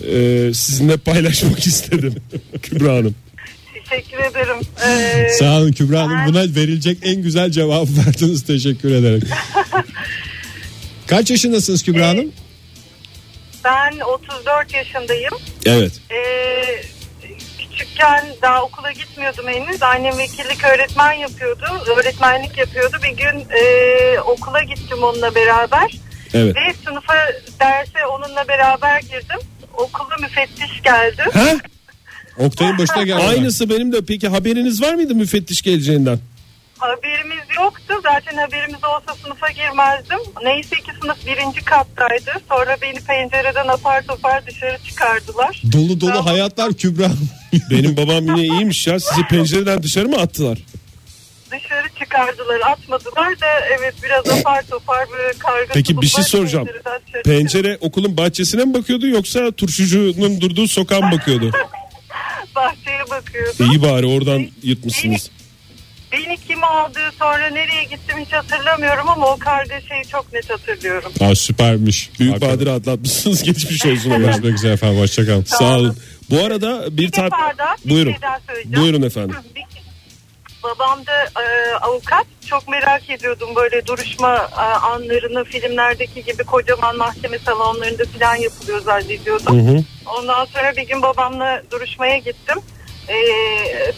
[SPEAKER 4] E, sizinle paylaşmak *laughs* istedim Kübra Hanım.
[SPEAKER 8] Teşekkür ederim. Ee,
[SPEAKER 2] Sağ olun Kübra Hanım.
[SPEAKER 8] Ben-
[SPEAKER 2] Buna verilecek en güzel cevabı verdiniz. Teşekkür
[SPEAKER 7] *laughs*
[SPEAKER 2] ederim. Kaç yaşındasınız Kübra Hanım?
[SPEAKER 8] ben 34 yaşındayım.
[SPEAKER 4] Evet.
[SPEAKER 8] Ee, küçükken daha okula gitmiyordum henüz. Annem vekillik öğretmen yapıyordu. Öğretmenlik yapıyordu. Bir gün ee, okula gittim onunla beraber.
[SPEAKER 4] Evet.
[SPEAKER 8] Ve sınıfa derse onunla beraber girdim. Okulu müfettiş geldi.
[SPEAKER 4] Ha?
[SPEAKER 2] Oktay'ın başına geldi.
[SPEAKER 4] Aynısı benim de peki haberiniz var mıydı müfettiş geleceğinden?
[SPEAKER 8] Haberimiz yoktu. Zaten haberimiz olsa sınıfa girmezdim. Neyse ki sınıf birinci kattaydı. Sonra beni pencereden apar topar dışarı çıkardılar.
[SPEAKER 2] Dolu dolu hayatlar Kübra Hanım.
[SPEAKER 4] Benim babam yine iyiymiş ya sizi pencereden dışarı mı attılar?
[SPEAKER 8] Dışarı çıkardılar atmadılar da evet biraz apar topar böyle karga
[SPEAKER 4] Peki bir şey
[SPEAKER 8] tulumlar
[SPEAKER 4] soracağım.
[SPEAKER 8] pencereden dışarı çıktı.
[SPEAKER 4] Pencere okulun bahçesine mi bakıyordu yoksa turşucunun durduğu sokağa mı bakıyordu?
[SPEAKER 8] *laughs* Bahçeye bakıyordu.
[SPEAKER 4] İyi bari oradan yırtmışsınız.
[SPEAKER 8] Beni kim aldı sonra nereye gittim hiç hatırlamıyorum ama o karga şeyi çok net hatırlıyorum.
[SPEAKER 2] Aa, süpermiş.
[SPEAKER 4] Büyük
[SPEAKER 2] Hakikaten.
[SPEAKER 4] badire atlatmışsınız *laughs* geçmiş olsun ama.
[SPEAKER 2] Görüşmek üzere efendim. Hoşçakalın.
[SPEAKER 4] Sağ olun. Bu arada bir
[SPEAKER 8] Bir
[SPEAKER 4] tar
[SPEAKER 8] defa daha bir
[SPEAKER 4] buyurun.
[SPEAKER 8] şey daha söyleyeceğim.
[SPEAKER 4] Buyurun efendim.
[SPEAKER 8] Bir- Babam da e, avukat. Çok merak ediyordum böyle duruşma e, anlarını filmlerdeki gibi kocaman mahkeme salonlarında falan yapılıyor zannediyordum. Ondan sonra bir gün babamla duruşmaya gittim. E,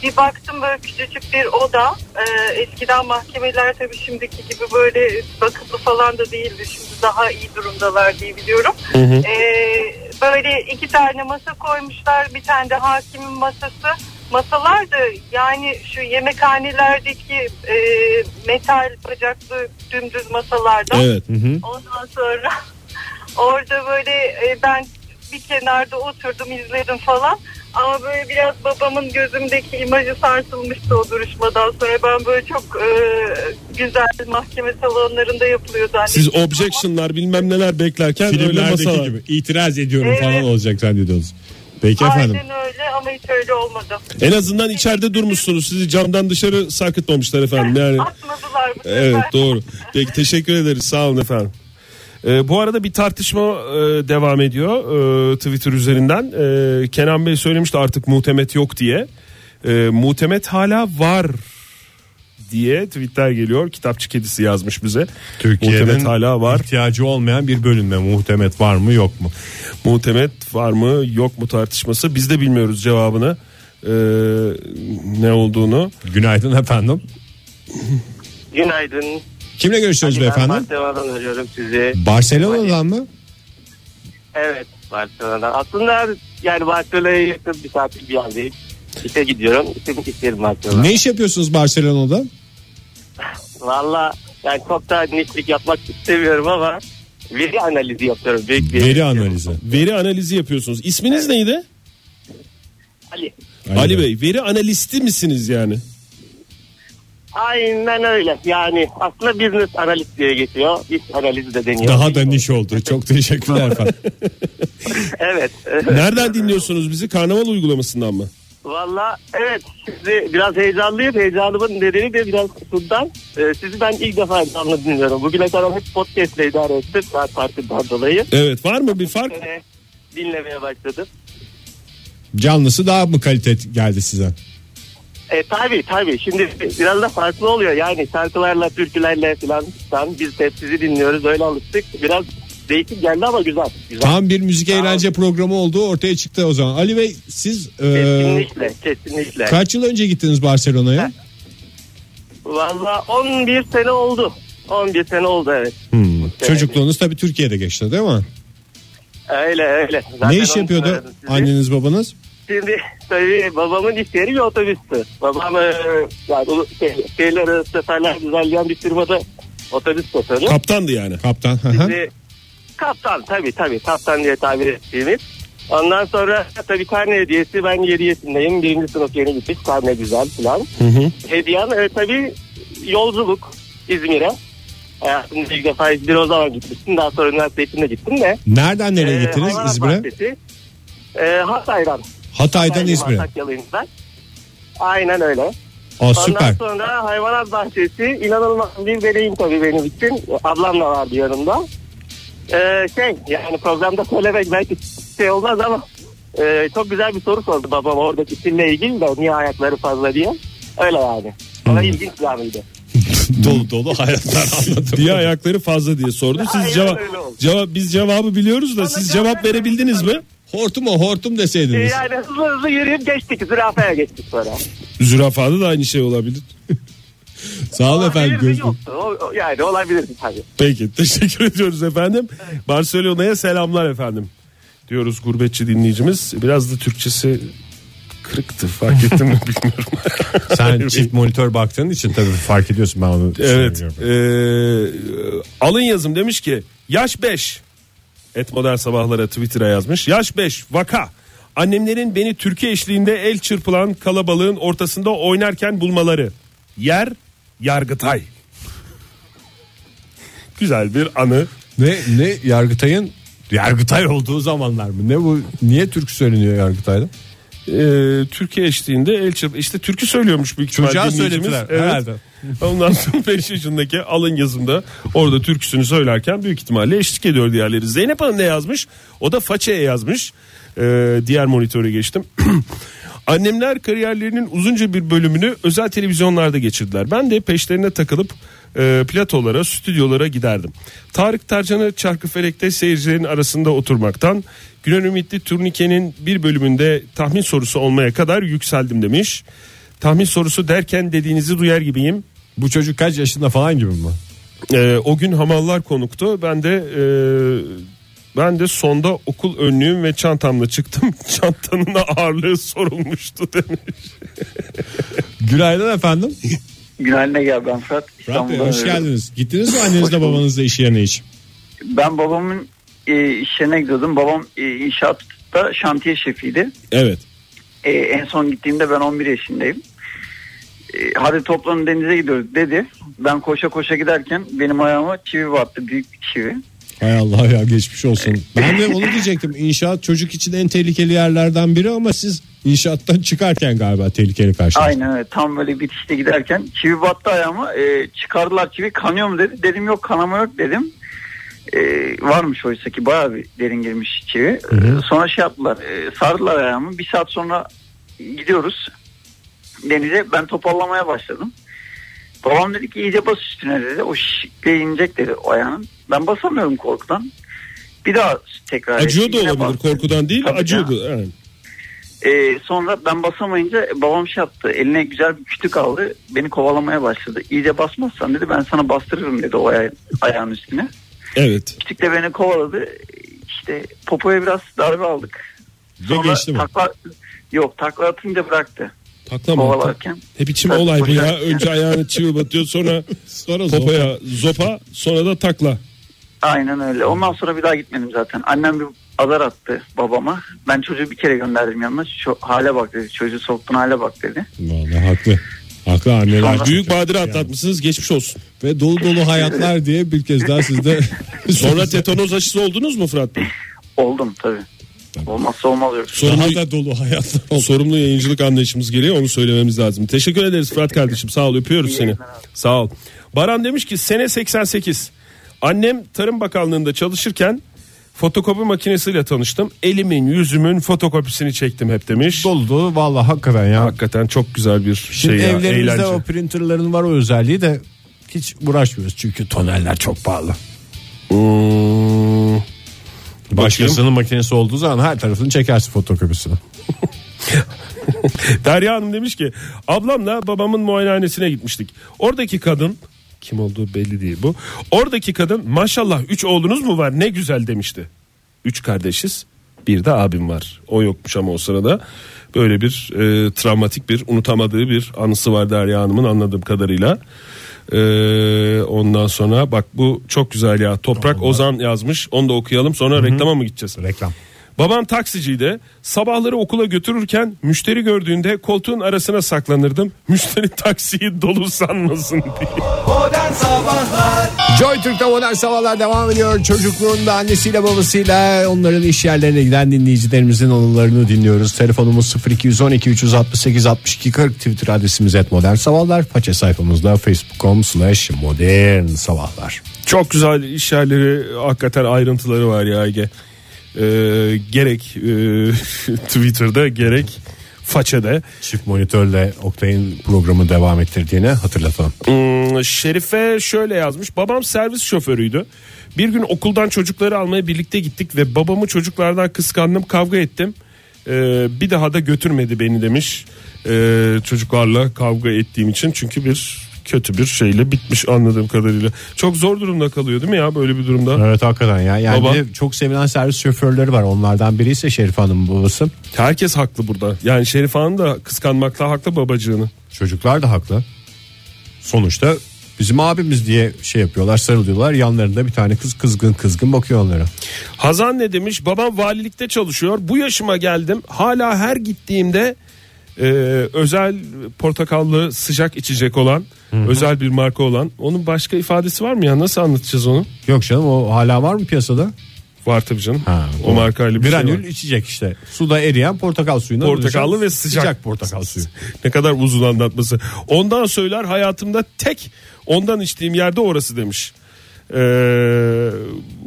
[SPEAKER 8] bir baktım böyle küçücük bir oda. E, eskiden mahkemeler tabii şimdiki gibi böyle bakımlı falan da değildi. Şimdi daha iyi durumdalar diye biliyorum. Ee, böyle iki tane masa koymuşlar bir tane de hakimin masası masalar da yani şu yemekhanelerdeki e, metal bacaklı dümdüz masalardan
[SPEAKER 4] Evet.
[SPEAKER 8] ondan sonra orada böyle e, ben bir kenarda oturdum izledim falan ama böyle biraz babamın gözümdeki imajı sarsılmıştı o duruşmadan sonra ben böyle çok e, güzel mahkeme salonlarında yapılıyor zannettim.
[SPEAKER 4] Siz objection'lar bilmem neler beklerken öyle
[SPEAKER 2] Filmlerdeki
[SPEAKER 4] masalar.
[SPEAKER 2] gibi itiraz ediyorum
[SPEAKER 8] Evet.
[SPEAKER 2] falan olacak zannediyorsunuz. Peki efendim.
[SPEAKER 8] Aynen öyle ama hiç öyle olmadı.
[SPEAKER 4] En azından içeride durmuşsunuz. Sizi camdan dışarı sarkıtmamışlar efendim. Yani
[SPEAKER 8] Atmadılar
[SPEAKER 4] Ee,
[SPEAKER 8] bu sefer.
[SPEAKER 4] *laughs* evet doğru. Peki teşekkür ederiz. Sağ olun efendim. Ee, bu arada bir tartışma e, devam ediyor e, Twitter üzerinden. E, Kenan Bey söylemişti artık muhtemet yok diye. E, muhtemet hala var diye tweetler geliyor. Kitapçı kedisi yazmış bize.
[SPEAKER 2] Türkiye'nin
[SPEAKER 4] muhtemet hala var.
[SPEAKER 2] ihtiyacı olmayan bir bölünme muhtemet var mı yok mu?
[SPEAKER 4] Muhtemet var mı yok mu tartışması biz de bilmiyoruz cevabını Ee, ne olduğunu
[SPEAKER 2] Günaydın efendim.
[SPEAKER 6] Günaydın.
[SPEAKER 2] Kimle görüşüyoruz beyefendi?
[SPEAKER 6] Barcelona'dan arıyorum sizi.
[SPEAKER 2] Barcelona'dan mı?
[SPEAKER 6] Evet Barcelona'dan. Aslında yani Barcelona'ya yakın bir tatil bir yerdeyim. İşe gidiyorum. İşim isterim Barcelona.
[SPEAKER 2] Ne iş yapıyorsunuz Barcelona'da?
[SPEAKER 6] Valla yani çok da netlik yapmak istemiyorum ama veri analizi yapıyorum. Büyük bir
[SPEAKER 2] Veri analizi.
[SPEAKER 4] veri analizi yapıyorsunuz isminiz neydi
[SPEAKER 6] Ali.
[SPEAKER 4] Ali, Bey veri analisti misiniz yani
[SPEAKER 6] Aynen öyle. Yani aslında business analist diye geçiyor. İş analizi de deniyor. *laughs*
[SPEAKER 2] Daha da niş oldu. Çok teşekkürler efendim.
[SPEAKER 6] Evet.
[SPEAKER 4] *laughs* nereden dinliyorsunuz bizi karnaval uygulamasından mı
[SPEAKER 6] Valla evet. Sizi biraz heyecanlıyım. Heyecanımın nedeni de biraz kutundan.
[SPEAKER 9] e,
[SPEAKER 6] Ee, sizi ben ilk defa heyecanla dinliyorum. Bugüne kadar hep podcast ile idare ettim. Saat farkından dolayı.
[SPEAKER 4] evet var mı bir fark
[SPEAKER 9] E,
[SPEAKER 6] Ee, dinlemeye başladım.
[SPEAKER 2] Canlısı daha mı kalite geldi size?
[SPEAKER 9] E, tabii tabii. Şimdi biraz da farklı oluyor. Yani şarkılarla, türkülerle falan falan biz hep sizi dinliyoruz. Öyle alıştık. Biraz değişik geldi ama güzel. güzel.
[SPEAKER 2] Tam bir müzik eğlence programı olduğu ortaya çıktı o zaman. Ali Bey siz e,
[SPEAKER 9] Kesinlikle, kesinlikle.
[SPEAKER 2] kaç yıl önce gittiniz Barcelona'ya?
[SPEAKER 9] Valla 11 sene oldu. 11 sene oldu evet.
[SPEAKER 2] Hmm. Çocukluğunuz tabii Türkiye'de geçti değil mi?
[SPEAKER 9] Öyle öyle.
[SPEAKER 2] Ne
[SPEAKER 9] Zaten
[SPEAKER 2] iş
[SPEAKER 9] onu
[SPEAKER 2] yapıyordu
[SPEAKER 9] söyledim size.
[SPEAKER 2] anneniz babanız?
[SPEAKER 9] Şimdi tabii babamın iş yeri bir otobüstü. Babam e, yani ulu- şey, şeyler arası seferler düzenleyen bir firmada otobüs satarı.
[SPEAKER 4] Kaptandı yani.
[SPEAKER 2] Kaptan. hı hı.
[SPEAKER 9] Ve kaptan tabii tabii kaptan diye tabir ettiğimiz. Ondan sonra tabii karne hediyesi ben 7 yaşındayım. Birinci sınıf yeni gittik karne güzel falan. Hediyem e, tabii yolculuk İzmir'e. Hayatımda ilk defa İzmir'e o zaman gitmiştim. Daha sonra üniversite için de gittim de.
[SPEAKER 2] Nereden nereye
[SPEAKER 9] E,
[SPEAKER 2] gittiniz
[SPEAKER 9] hayvanat
[SPEAKER 2] İzmir'e?
[SPEAKER 9] bahçesi. E, Hatay'dan.
[SPEAKER 2] Hatay'dan
[SPEAKER 9] Hatay'dan
[SPEAKER 2] İzmir'e.
[SPEAKER 9] Sakaryalıyım ben. Aynen öyle.
[SPEAKER 2] Aa,
[SPEAKER 9] Ondan
[SPEAKER 2] süper.
[SPEAKER 9] sonra hayvanat bahçesi inanılmaz bir deneyim tabii benim için. Ablam da vardı yanımda. Ee, şey yani programda söylemek belki şey olmaz ama e, çok güzel bir soru sordu babam oradaki fille ilgili de niye ayakları fazla diye. Öyle yani. Bana
[SPEAKER 2] Hmm.
[SPEAKER 9] ilginç bir anıydı.
[SPEAKER 2] *laughs* Dolu
[SPEAKER 4] *laughs*
[SPEAKER 2] dolu hayatlar anlatıyor.
[SPEAKER 4] Diye ayakları fazla diye sordu.
[SPEAKER 9] Aynen
[SPEAKER 4] Siz cevap
[SPEAKER 9] öyle oldu.
[SPEAKER 4] cevap biz cevabı biliyoruz da siz cevap verebildiniz mi?
[SPEAKER 2] Hortum o hortum
[SPEAKER 9] Ee,
[SPEAKER 2] deseydiniz.
[SPEAKER 9] Yani hızlı hızlı yürüyüp geçtik. Zürafaya geçtik sonra.
[SPEAKER 4] Zürafada da aynı şey olabilir. *laughs*
[SPEAKER 2] Sağ olun
[SPEAKER 9] Olabilir
[SPEAKER 2] efendim.
[SPEAKER 9] mi?
[SPEAKER 2] Görüşmek.
[SPEAKER 9] Yoktu. O- o- yani olabilir tabii.
[SPEAKER 4] Peki *laughs* teşekkür ediyoruz efendim. Barcelona'ya selamlar efendim. Diyoruz gurbetçi dinleyicimiz. Biraz da Türkçesi kırıktı fark ettim mi bilmiyorum.
[SPEAKER 2] *laughs* Sen çift monitör baktığın için tabii fark ediyorsun ben onu
[SPEAKER 4] Evet.
[SPEAKER 2] söylüyorum.
[SPEAKER 4] Ee, alın yazım demiş ki yaş 5. Et modern sabahlara Twitter'a yazmış. Yaş 5 vaka. Annemlerin beni Türkiye eşliğinde el çırpılan kalabalığın ortasında oynarken bulmaları. Yer Yargıtay. Güzel bir anı.
[SPEAKER 2] Ne, ne Yargıtay'ın Yargıtay olduğu zamanlar mı? Ne bu? Niye türkü söyleniyor Yargıtay'da?
[SPEAKER 4] Ee, Türkiye eşliğinde el çırp. İşte türkü söylüyormuş büyük ihtimal
[SPEAKER 2] Çocuğa
[SPEAKER 4] dinleyicimiz.
[SPEAKER 2] söylediler
[SPEAKER 4] Evet.
[SPEAKER 2] herhalde.
[SPEAKER 4] Ondan sonra *laughs* 5 yaşındaki alın yazımda orada türküsünü söylerken büyük ihtimalle eşlik ediyor diğerleri. Zeynep Hanım ne yazmış? O da façeye yazmış. Ee, diğer monitöre geçtim. *clears throat* Annemler kariyerlerinin uzunca bir bölümünü özel televizyonlarda geçirdiler. Ben de peşlerine takılıp e, platolara, stüdyolara giderdim. Tarık Tarcan'ı Çarkıfelek'te seyircilerin arasında oturmaktan, Gülen Ümitli Turnike'nin bir bölümünde tahmin sorusu olmaya kadar yükseldim demiş. Tahmin sorusu derken dediğinizi duyar gibiyim.
[SPEAKER 2] Bu çocuk kaç yaşında falan gibi mi?
[SPEAKER 4] Ee, o gün hamallar konuktu. Ben de e, ben de sonda okul önlüğüm ve çantamla çıktım. *laughs* Çantanın ağırlığı sorulmuştu demiş.
[SPEAKER 2] *laughs* Günaydın efendim.
[SPEAKER 10] Günaydın Ege ben Fırat.
[SPEAKER 2] Fırat Bey
[SPEAKER 10] İstanbul'dan
[SPEAKER 2] hoş
[SPEAKER 10] arıyorum.
[SPEAKER 2] geldiniz. Gittiniz mi annenizle babanızla iş yerine hiç?
[SPEAKER 10] Ben babamın e, iş yerine gidiyordum. Babam e, inşaatta şantiye şefiydi.
[SPEAKER 4] *laughs* Evet.
[SPEAKER 10] E, en son gittiğimde ben 11 yaşındayım. E, hadi toplanın denize gidiyoruz dedi. Ben koşa koşa giderken benim ayağıma çivi battı. Büyük bir çivi.
[SPEAKER 2] Hay Allah ya geçmiş olsun. Ben de onu diyecektim. İnşaat çocuk için en tehlikeli yerlerden biri ama siz inşaattan çıkarken galiba tehlikeli karşılaştınız.
[SPEAKER 10] Aynen öyle. Tam böyle bitişte giderken çivi battı ayağıma. E, çıkardılar çivi kanıyor mu dedi. Dedim yok kanama yok dedim. E, varmış oysa ki bayağı bir derin girmiş çivi. E, sonra şey yaptılar. e, sardılar ayağımı. Bir saat sonra gidiyoruz denize. Ben topallamaya başladım. Babam dedi ki iyice bas üstüne dedi. O şişikliğe inecek dedi o ayağın. Ben basamıyorum korkudan. Bir daha tekrar etti.
[SPEAKER 4] Acıyor da
[SPEAKER 10] Yine
[SPEAKER 4] olabilir
[SPEAKER 10] bastı.
[SPEAKER 4] korkudan değil
[SPEAKER 10] Tabii
[SPEAKER 4] acıyordu. Evet.
[SPEAKER 10] Ee, sonra ben basamayınca babam şey yaptı. Eline güzel bir kütük aldı. Beni kovalamaya başladı. İyice basmazsan dedi ben sana bastırırım dedi o aya- ayağın üstüne.
[SPEAKER 4] Evet.
[SPEAKER 10] Kütük de beni kovaladı. İşte popoya biraz darbe aldık.
[SPEAKER 2] Ve geçti mi?
[SPEAKER 10] takla, yok takla atınca bıraktı
[SPEAKER 4] Taklama.
[SPEAKER 10] kovalarken.
[SPEAKER 4] Hep biçim olay bu ya. Önce ayağını çivi batıyor sonra
[SPEAKER 2] *laughs* Sonra zor.
[SPEAKER 4] popoya zopa sonra da takla.
[SPEAKER 10] Aynen öyle. Ondan sonra bir daha gitmedim zaten. Annem bir azar attı babama. Ben çocuğu bir kere gönderdim yanına. Şu hale bak dedi. Çocuğu soktun hale bak dedi.
[SPEAKER 2] Vallahi haklı. Haklı anneler.
[SPEAKER 10] Sonra-
[SPEAKER 2] Büyük
[SPEAKER 4] Büyük badire atlatmışsınız geçmiş olsun.
[SPEAKER 2] ve dolu dolu hayatlar diye bir kez daha sizde
[SPEAKER 4] *laughs* Sonra tetanoz aşısı oldunuz mu Fırat Bey?
[SPEAKER 10] Oldum tabii. Olmazsa olmaz yok.
[SPEAKER 2] daha
[SPEAKER 4] Sorumlu,
[SPEAKER 2] da dolu hayatlar.
[SPEAKER 4] sorumlu yayıncılık anlayışımız geliyor onu söylememiz lazım. Teşekkür ederiz Fırat kardeşim sağ ol öpüyoruz seni. Sağ ol. Baran demiş ki sene 88. Annem Tarım Bakanlığı'nda çalışırken Fotokopi makinesiyle tanıştım. Elimin yüzümün fotokopisini çektim hep demiş.
[SPEAKER 2] Dolu dolu vallahi hakikaten ya.
[SPEAKER 4] Hakikaten çok güzel bir
[SPEAKER 2] Şimdi
[SPEAKER 4] şey ya,
[SPEAKER 2] evlerimizde
[SPEAKER 4] eğlence.
[SPEAKER 2] o printerların var o özelliği de hiç uğraşmıyoruz çünkü tonerler çok pahalı.
[SPEAKER 4] Hmm.
[SPEAKER 2] Başkasının makinesi olduğu zaman her tarafını çekersin fotokopisini.
[SPEAKER 4] *laughs* Derya Hanım demiş ki ablamla babamın muayenehanesine gitmiştik. Oradaki kadın kim olduğu belli değil bu. Oradaki kadın maşallah 3 oğlunuz mu var ne güzel demişti. 3 kardeşiz bir de abim var. O yokmuş ama o sırada böyle bir e, travmatik bir unutamadığı bir anısı var Derya Hanım'ın anladığım kadarıyla. E, ondan sonra bak bu çok güzel ya Toprak Ozan yazmış onu da okuyalım sonra reklama mı gideceğiz?
[SPEAKER 2] Reklam.
[SPEAKER 4] Babam taksiciydi. Sabahları okula götürürken müşteri gördüğünde koltuğun arasına saklanırdım. *laughs* Müşteri taksiyi dolu sanmasın diye.
[SPEAKER 1] Modern Sabahlar
[SPEAKER 2] Joy Türk'te modern sabahlar devam ediyor. Çocukluğunda annesiyle babasıyla onların iş yerlerine giden dinleyicilerimizin anılarını dinliyoruz. Telefonumuz 0212 368 62 40 Twitter adresimiz et modern sabahlar. Faça sayfamızda facebook.com slash modern sabahlar.
[SPEAKER 4] Çok güzel iş yerleri hakikaten ayrıntıları var ya Ege. Ee, gerek e, *laughs* Twitter'da gerek façede.
[SPEAKER 2] Çift monitörle Oktay'ın programı devam ettirdiğini hatırlatalım.
[SPEAKER 4] Hmm, Şerife şöyle yazmış. Babam servis şoförüydü. Bir gün okuldan çocukları almaya birlikte gittik ve babamı çocuklardan kıskandım kavga ettim. Ee, bir daha da götürmedi beni demiş. Ee, çocuklarla kavga ettiğim için çünkü bir kötü bir şeyle bitmiş anladığım kadarıyla. Çok zor durumda kalıyor değil mi ya böyle bir durumda?
[SPEAKER 2] Evet hakikaten ya. Yani
[SPEAKER 4] Baba.
[SPEAKER 2] bir de çok sevilen servis şoförleri var. Onlardan biri ise Şerif Hanım'ın babası.
[SPEAKER 4] Herkes haklı burada. Yani Şerif Hanım da kıskanmakla haklı babacığını.
[SPEAKER 2] Çocuklar da haklı. Sonuçta bizim abimiz diye şey yapıyorlar sarılıyorlar. Yanlarında bir tane kız kızgın kızgın bakıyor onlara.
[SPEAKER 4] Hazan ne demiş? Babam valilikte çalışıyor. Bu yaşıma geldim. Hala her gittiğimde e, özel portakallı sıcak içecek olan özel bir marka olan onun başka ifadesi var mı ya? Nasıl anlatacağız onu?
[SPEAKER 2] Yok canım o hala var mı piyasada?
[SPEAKER 4] Var tabii canım.
[SPEAKER 2] Ha,
[SPEAKER 4] o
[SPEAKER 2] o-
[SPEAKER 4] markayla bir
[SPEAKER 2] Granül
[SPEAKER 4] şey var.
[SPEAKER 2] içecek işte. Suda eriyen portakal suyuna
[SPEAKER 4] Portakallı
[SPEAKER 2] dönüşen
[SPEAKER 4] ve sıcak.
[SPEAKER 2] portakal suyu.
[SPEAKER 4] Ne kadar uzun anlatması. Ondan söyler hayatımda tek ondan içtiğim yerde orası demiş. Ee,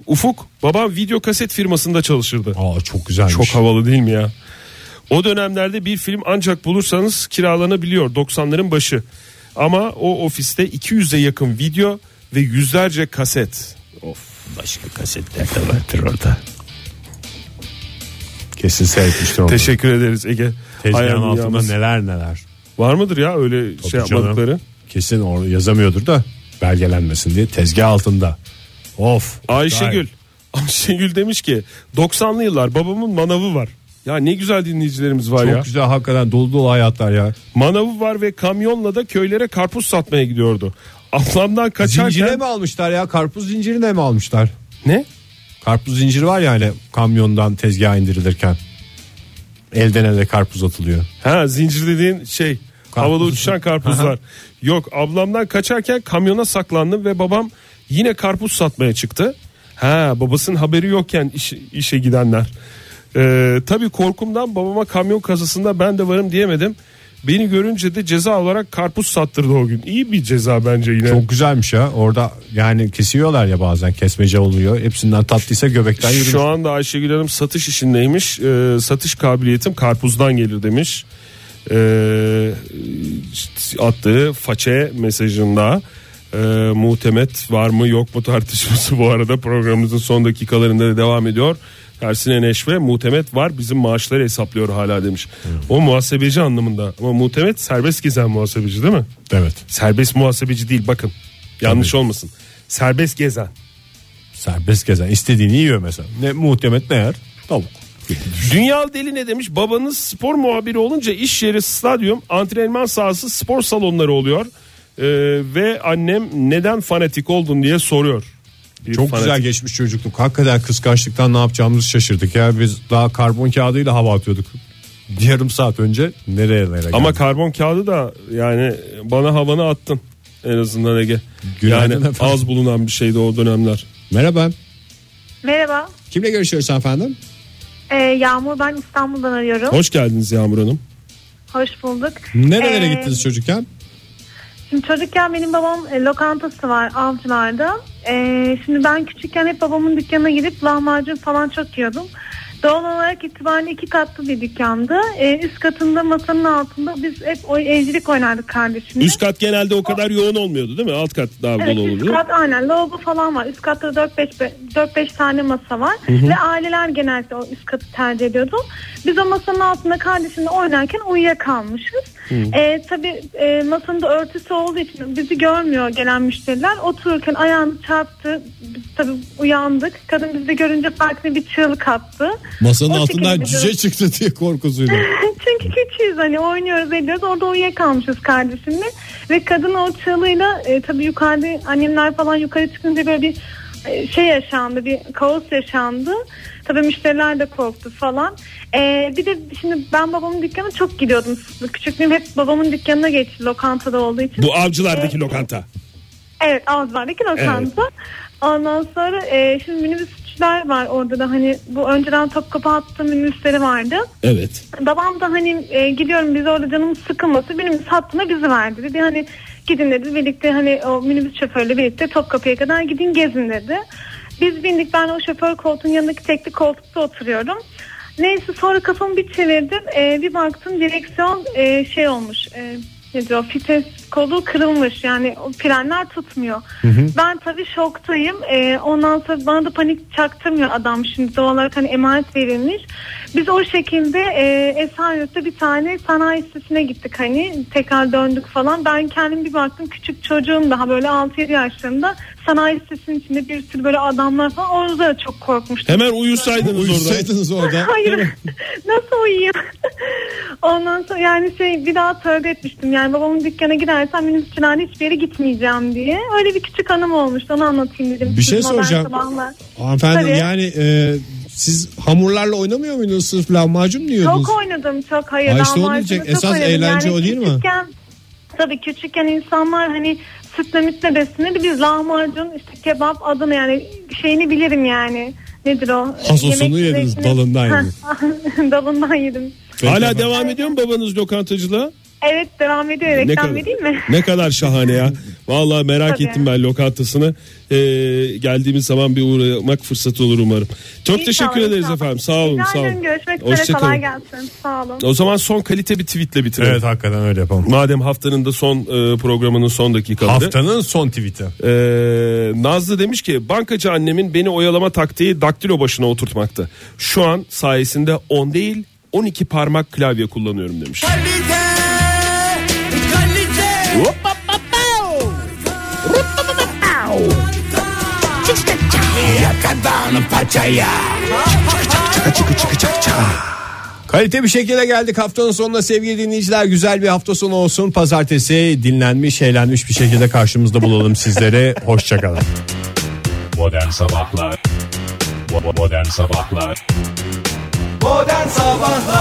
[SPEAKER 4] Ufuk babam video kaset firmasında çalışırdı.
[SPEAKER 2] Aa çok güzelmiş.
[SPEAKER 4] Çok havalı değil mi ya? O dönemlerde bir film ancak bulursanız kiralanabiliyor 90'ların başı. Ama o ofiste 200'e yakın video ve yüzlerce kaset.
[SPEAKER 2] Başka kasetler de vardır orada. Kesin seyretmiştir onu.
[SPEAKER 4] Teşekkür ederiz Ege.
[SPEAKER 2] Tezgahın
[SPEAKER 4] Ayağını
[SPEAKER 2] altında
[SPEAKER 4] yalnız-
[SPEAKER 2] neler neler.
[SPEAKER 4] Var mıdır ya öyle şey
[SPEAKER 2] Tabii canım.
[SPEAKER 4] yapmadıkları?
[SPEAKER 2] Kesin orada yazamıyordur da belgelenmesin diye tezgah altında. Of.
[SPEAKER 4] Ayşegül. Ayşegül demiş ki 90'lı yıllar babamın manavı var. Ya ne güzel dinleyicilerimiz var
[SPEAKER 2] Çok
[SPEAKER 4] ya.
[SPEAKER 2] güzel hakikaten dolu dolu hayatlar ya.
[SPEAKER 4] Manavı var ve kamyonla da köylere karpuz satmaya gidiyordu. Ablamdan kaçarken...
[SPEAKER 2] Zincire mi almışlar ya? Karpuz zincirine mi almışlar?
[SPEAKER 4] Ne?
[SPEAKER 2] Karpuz zinciri var ya hani kamyondan tezgaha indirilirken. Elden ele karpuz atılıyor.
[SPEAKER 4] Ha zincir dediğin şey havada uçuşan karpuzlar. Yok ablamdan kaçarken kamyona saklandım ve babam yine karpuz satmaya çıktı. Ha babasının haberi yokken iş- işe gidenler. Ee, tabii korkumdan babama kamyon kazasında ben de varım diyemedim. Beni görünce de ceza olarak karpuz sattırdı o gün. İyi bir ceza bence yine.
[SPEAKER 2] Çok güzelmiş ya. Orada yani kesiyorlar ya bazen kesmece oluyor. Hepsinden tatlıysa göbekten yürümüş.
[SPEAKER 4] Şu anda Ayşegül Hanım satış işindeymiş. Ee, satış kabiliyetim karpuzdan gelir demiş. Ee, attığı façe mesajında e, muhtemet var mı yok mu tartışması bu arada programımızın son dakikalarında da devam ediyor. Tersine neşve muhtemet var bizim maaşları hesaplıyor hala demiş.
[SPEAKER 2] Hmm.
[SPEAKER 4] O muhasebeci anlamında ama muhtemet serbest gezen muhasebeci değil mi?
[SPEAKER 2] Evet.
[SPEAKER 4] Serbest muhasebeci değil bakın yanlış olmasın. Serbest gezen.
[SPEAKER 2] Serbest gezen. istediğini yiyor mesela. Ne muhtemet ne yer? Tavuk.
[SPEAKER 4] Dünya deli ne demiş? Babanız spor muhabiri olunca iş yeri stadyum, antrenman sahası, spor salonları oluyor. Ee, ve annem neden fanatik oldun diye soruyor. Bir
[SPEAKER 2] Çok
[SPEAKER 4] fanatik.
[SPEAKER 2] güzel geçmiş çocukluk. Hakikaten kıskançlıktan ne yapacağımızı şaşırdık ya. Biz daha karbon kağıdıyla hava atıyorduk. *laughs* Yarım saat önce nereye nereye geldik.
[SPEAKER 4] Ama karbon kağıdı da yani bana havanı attın en azından Ege.
[SPEAKER 2] Günaydın
[SPEAKER 4] yani
[SPEAKER 2] efendim.
[SPEAKER 4] az bulunan bir şeydi o dönemler.
[SPEAKER 2] Merhaba.
[SPEAKER 11] Merhaba.
[SPEAKER 2] Kimle görüşüyoruz efendim?
[SPEAKER 11] Ee, Yağmur ben İstanbul'dan arıyorum.
[SPEAKER 4] Hoş geldiniz Yağmur Hanım.
[SPEAKER 11] Hoş bulduk.
[SPEAKER 2] Nerelere
[SPEAKER 11] Ee,
[SPEAKER 2] gittiniz çocukken?
[SPEAKER 11] Şimdi çocukken benim babam e, lokantası var avcılarda. Ee, şimdi ben küçükken hep babamın dükkanına gidip lahmacun falan çok yiyordum. Doğal olarak itibariyle iki katlı bir dükkandı. Ee, üst katında masanın altında biz hep oy, evcilik oynardık kardeşimle.
[SPEAKER 4] Üst kat genelde o kadar yoğun olmuyordu değil mi? Alt kat daha
[SPEAKER 11] Evet
[SPEAKER 4] bol
[SPEAKER 11] üst
[SPEAKER 4] olurdu.
[SPEAKER 11] kat aynen lavabo falan var. Üst katta 4-5 4-5 tane masa var.
[SPEAKER 4] Hı hı.
[SPEAKER 11] Ve aileler genelde o üst katı tercih ediyordu. Biz o masanın altında kardeşimle oynarken uyuyakalmışız.
[SPEAKER 12] Hı.
[SPEAKER 11] E, tabii e, masanın da örtüsü olduğu için bizi görmüyor gelen müşteriler. Otururken ayağını çarptı. Biz tabii uyandık. Kadın bizi görünce farkında bir çığlık attı.
[SPEAKER 2] Masanın
[SPEAKER 11] O
[SPEAKER 2] altından
[SPEAKER 11] şekilde biz-
[SPEAKER 2] cüce çıktı diye korkusuyla.
[SPEAKER 11] *laughs* Çünkü küçüğüz hani oynuyoruz ediyoruz orada uyuyakalmışız kardeşimle ve kadın o çığlığıyla e, tabii yukarıda annemler falan yukarı çıkınca böyle bir e, şey yaşandı bir kaos yaşandı. Tabii müşteriler de korktu falan. E, bir de şimdi ben babamın dükkanına çok gidiyordum. Küçüklüğüm hep babamın dükkanına geçti lokantada olduğu için.
[SPEAKER 4] Bu avcılardaki
[SPEAKER 11] E,
[SPEAKER 4] lokanta.
[SPEAKER 11] Evet Avcılar'daki lokanta. Ondan sonra e, şimdi minibüsçüler var orada da hani bu önceden Topkapı hattı minibüsleri vardı.
[SPEAKER 4] Evet.
[SPEAKER 11] Babam da hani e, gidiyorum biz orada canımız sıkılması minibüs hattına bizi verdi dedi. Hani gidin dedi birlikte hani o minibüs şoförüyle birlikte Topkapı'ya kadar gidin gezin dedi. Biz bindik ben o şoför koltuğun yanındaki tekli koltukta oturuyorum. Neyse sonra kafamı bir çevirdim E, bir baktım direksiyon e, şey olmuş e, ne diyor fites kolu kırılmış yani o frenler tutmuyor.
[SPEAKER 13] Hı hı.
[SPEAKER 11] Ben tabii şoktayım. Ee, ondan sonra bana da panik çaktırmıyor adam şimdi doğal olarak hani emanet verilmiş. Biz o şekilde e, Esenyurt'ta bir tane sanayi sitesine gittik hani tekrar döndük falan. Ben kendim bir baktım küçük çocuğum daha böyle 6-7 yaşlarında sanayi sitesinin içinde bir sürü böyle adamlar falan orada da çok korkmuştum.
[SPEAKER 4] Hemen uyusaydınız orada. Uyusaydınız orada.
[SPEAKER 11] *laughs* Hayır. Nasıl uyuyayım? *laughs* Ondan sonra yani şey bir daha tövbe etmiştim. Yani babamın dükkana gidersem minibüsçülerle hiçbir yere gitmeyeceğim diye. Öyle bir küçük anım olmuştu onu anlatayım dedim.
[SPEAKER 2] Bir şey
[SPEAKER 11] Sizin modern
[SPEAKER 2] soracağım.
[SPEAKER 11] sabahlar.
[SPEAKER 2] Hanımefendi
[SPEAKER 11] Tabii.
[SPEAKER 2] yani e, siz hamurlarla oynamıyor muydunuz? Sırf lahmacun mu yiyordunuz?
[SPEAKER 11] Çok oynadım çok hayır.
[SPEAKER 2] Ay işte onu
[SPEAKER 11] lahmacunu
[SPEAKER 2] diyecek.
[SPEAKER 11] çok
[SPEAKER 2] Esas
[SPEAKER 11] oynadım.
[SPEAKER 2] eğlence o değil mi?
[SPEAKER 11] Küçükken, tabii küçükken insanlar hani sütle mütle beslenirdi. Biz lahmacun işte kebap adını yani şeyini bilirim yani. Nedir o?
[SPEAKER 4] Hasosunu
[SPEAKER 11] Yemek
[SPEAKER 4] yediniz,
[SPEAKER 11] zevkini-
[SPEAKER 4] dalından yediniz.
[SPEAKER 11] *laughs* dalından yedim.
[SPEAKER 4] Hala devam ediyor mu babanız lokantacılığa?
[SPEAKER 11] Evet devam ediyor.
[SPEAKER 4] Ne
[SPEAKER 11] Reklam
[SPEAKER 4] kadar-
[SPEAKER 11] vereyim mi?
[SPEAKER 4] Ne kadar şahane ya. Vallahi merak
[SPEAKER 11] Tabii.
[SPEAKER 4] ettim ben lokantasını. Ee, geldiğimiz zaman bir uğramak fırsatı olur umarım. Çok
[SPEAKER 11] İnşallah,
[SPEAKER 4] teşekkür ederiz
[SPEAKER 11] inşallah.
[SPEAKER 4] efendim. Sağ olun,
[SPEAKER 11] Rica
[SPEAKER 4] sağ
[SPEAKER 11] ederim.
[SPEAKER 4] olun.
[SPEAKER 11] Görüşmek üzere.
[SPEAKER 4] Hoşça kalın.
[SPEAKER 11] Kolay gelsin. Sağ olun.
[SPEAKER 4] O zaman son kalite bir tweetle bitirelim.
[SPEAKER 2] Evet, hakikaten öyle yapalım.
[SPEAKER 4] Madem haftanın da son e, programının son dakikaları.
[SPEAKER 2] Haftanın son tweet'i.
[SPEAKER 4] Ee, Nazlı demiş ki bankacı annemin beni oyalama taktiği daktilo başına oturtmaktı. Şu an sayesinde 10 değil 12 parmak klavye kullanıyorum demiş. Hop.
[SPEAKER 1] Yakadan paçaya.
[SPEAKER 2] Kalite bir şekilde geldik haftanın sonuna sevgili dinleyiciler. Güzel bir hafta sonu olsun. Pazartesi dinlenmiş, eğlenmiş bir şekilde karşımızda bulalım sizlere. Hoşçakalın.
[SPEAKER 14] Modern Sabahlar Bo- Modern Sabahlar
[SPEAKER 1] Modern Sabahlar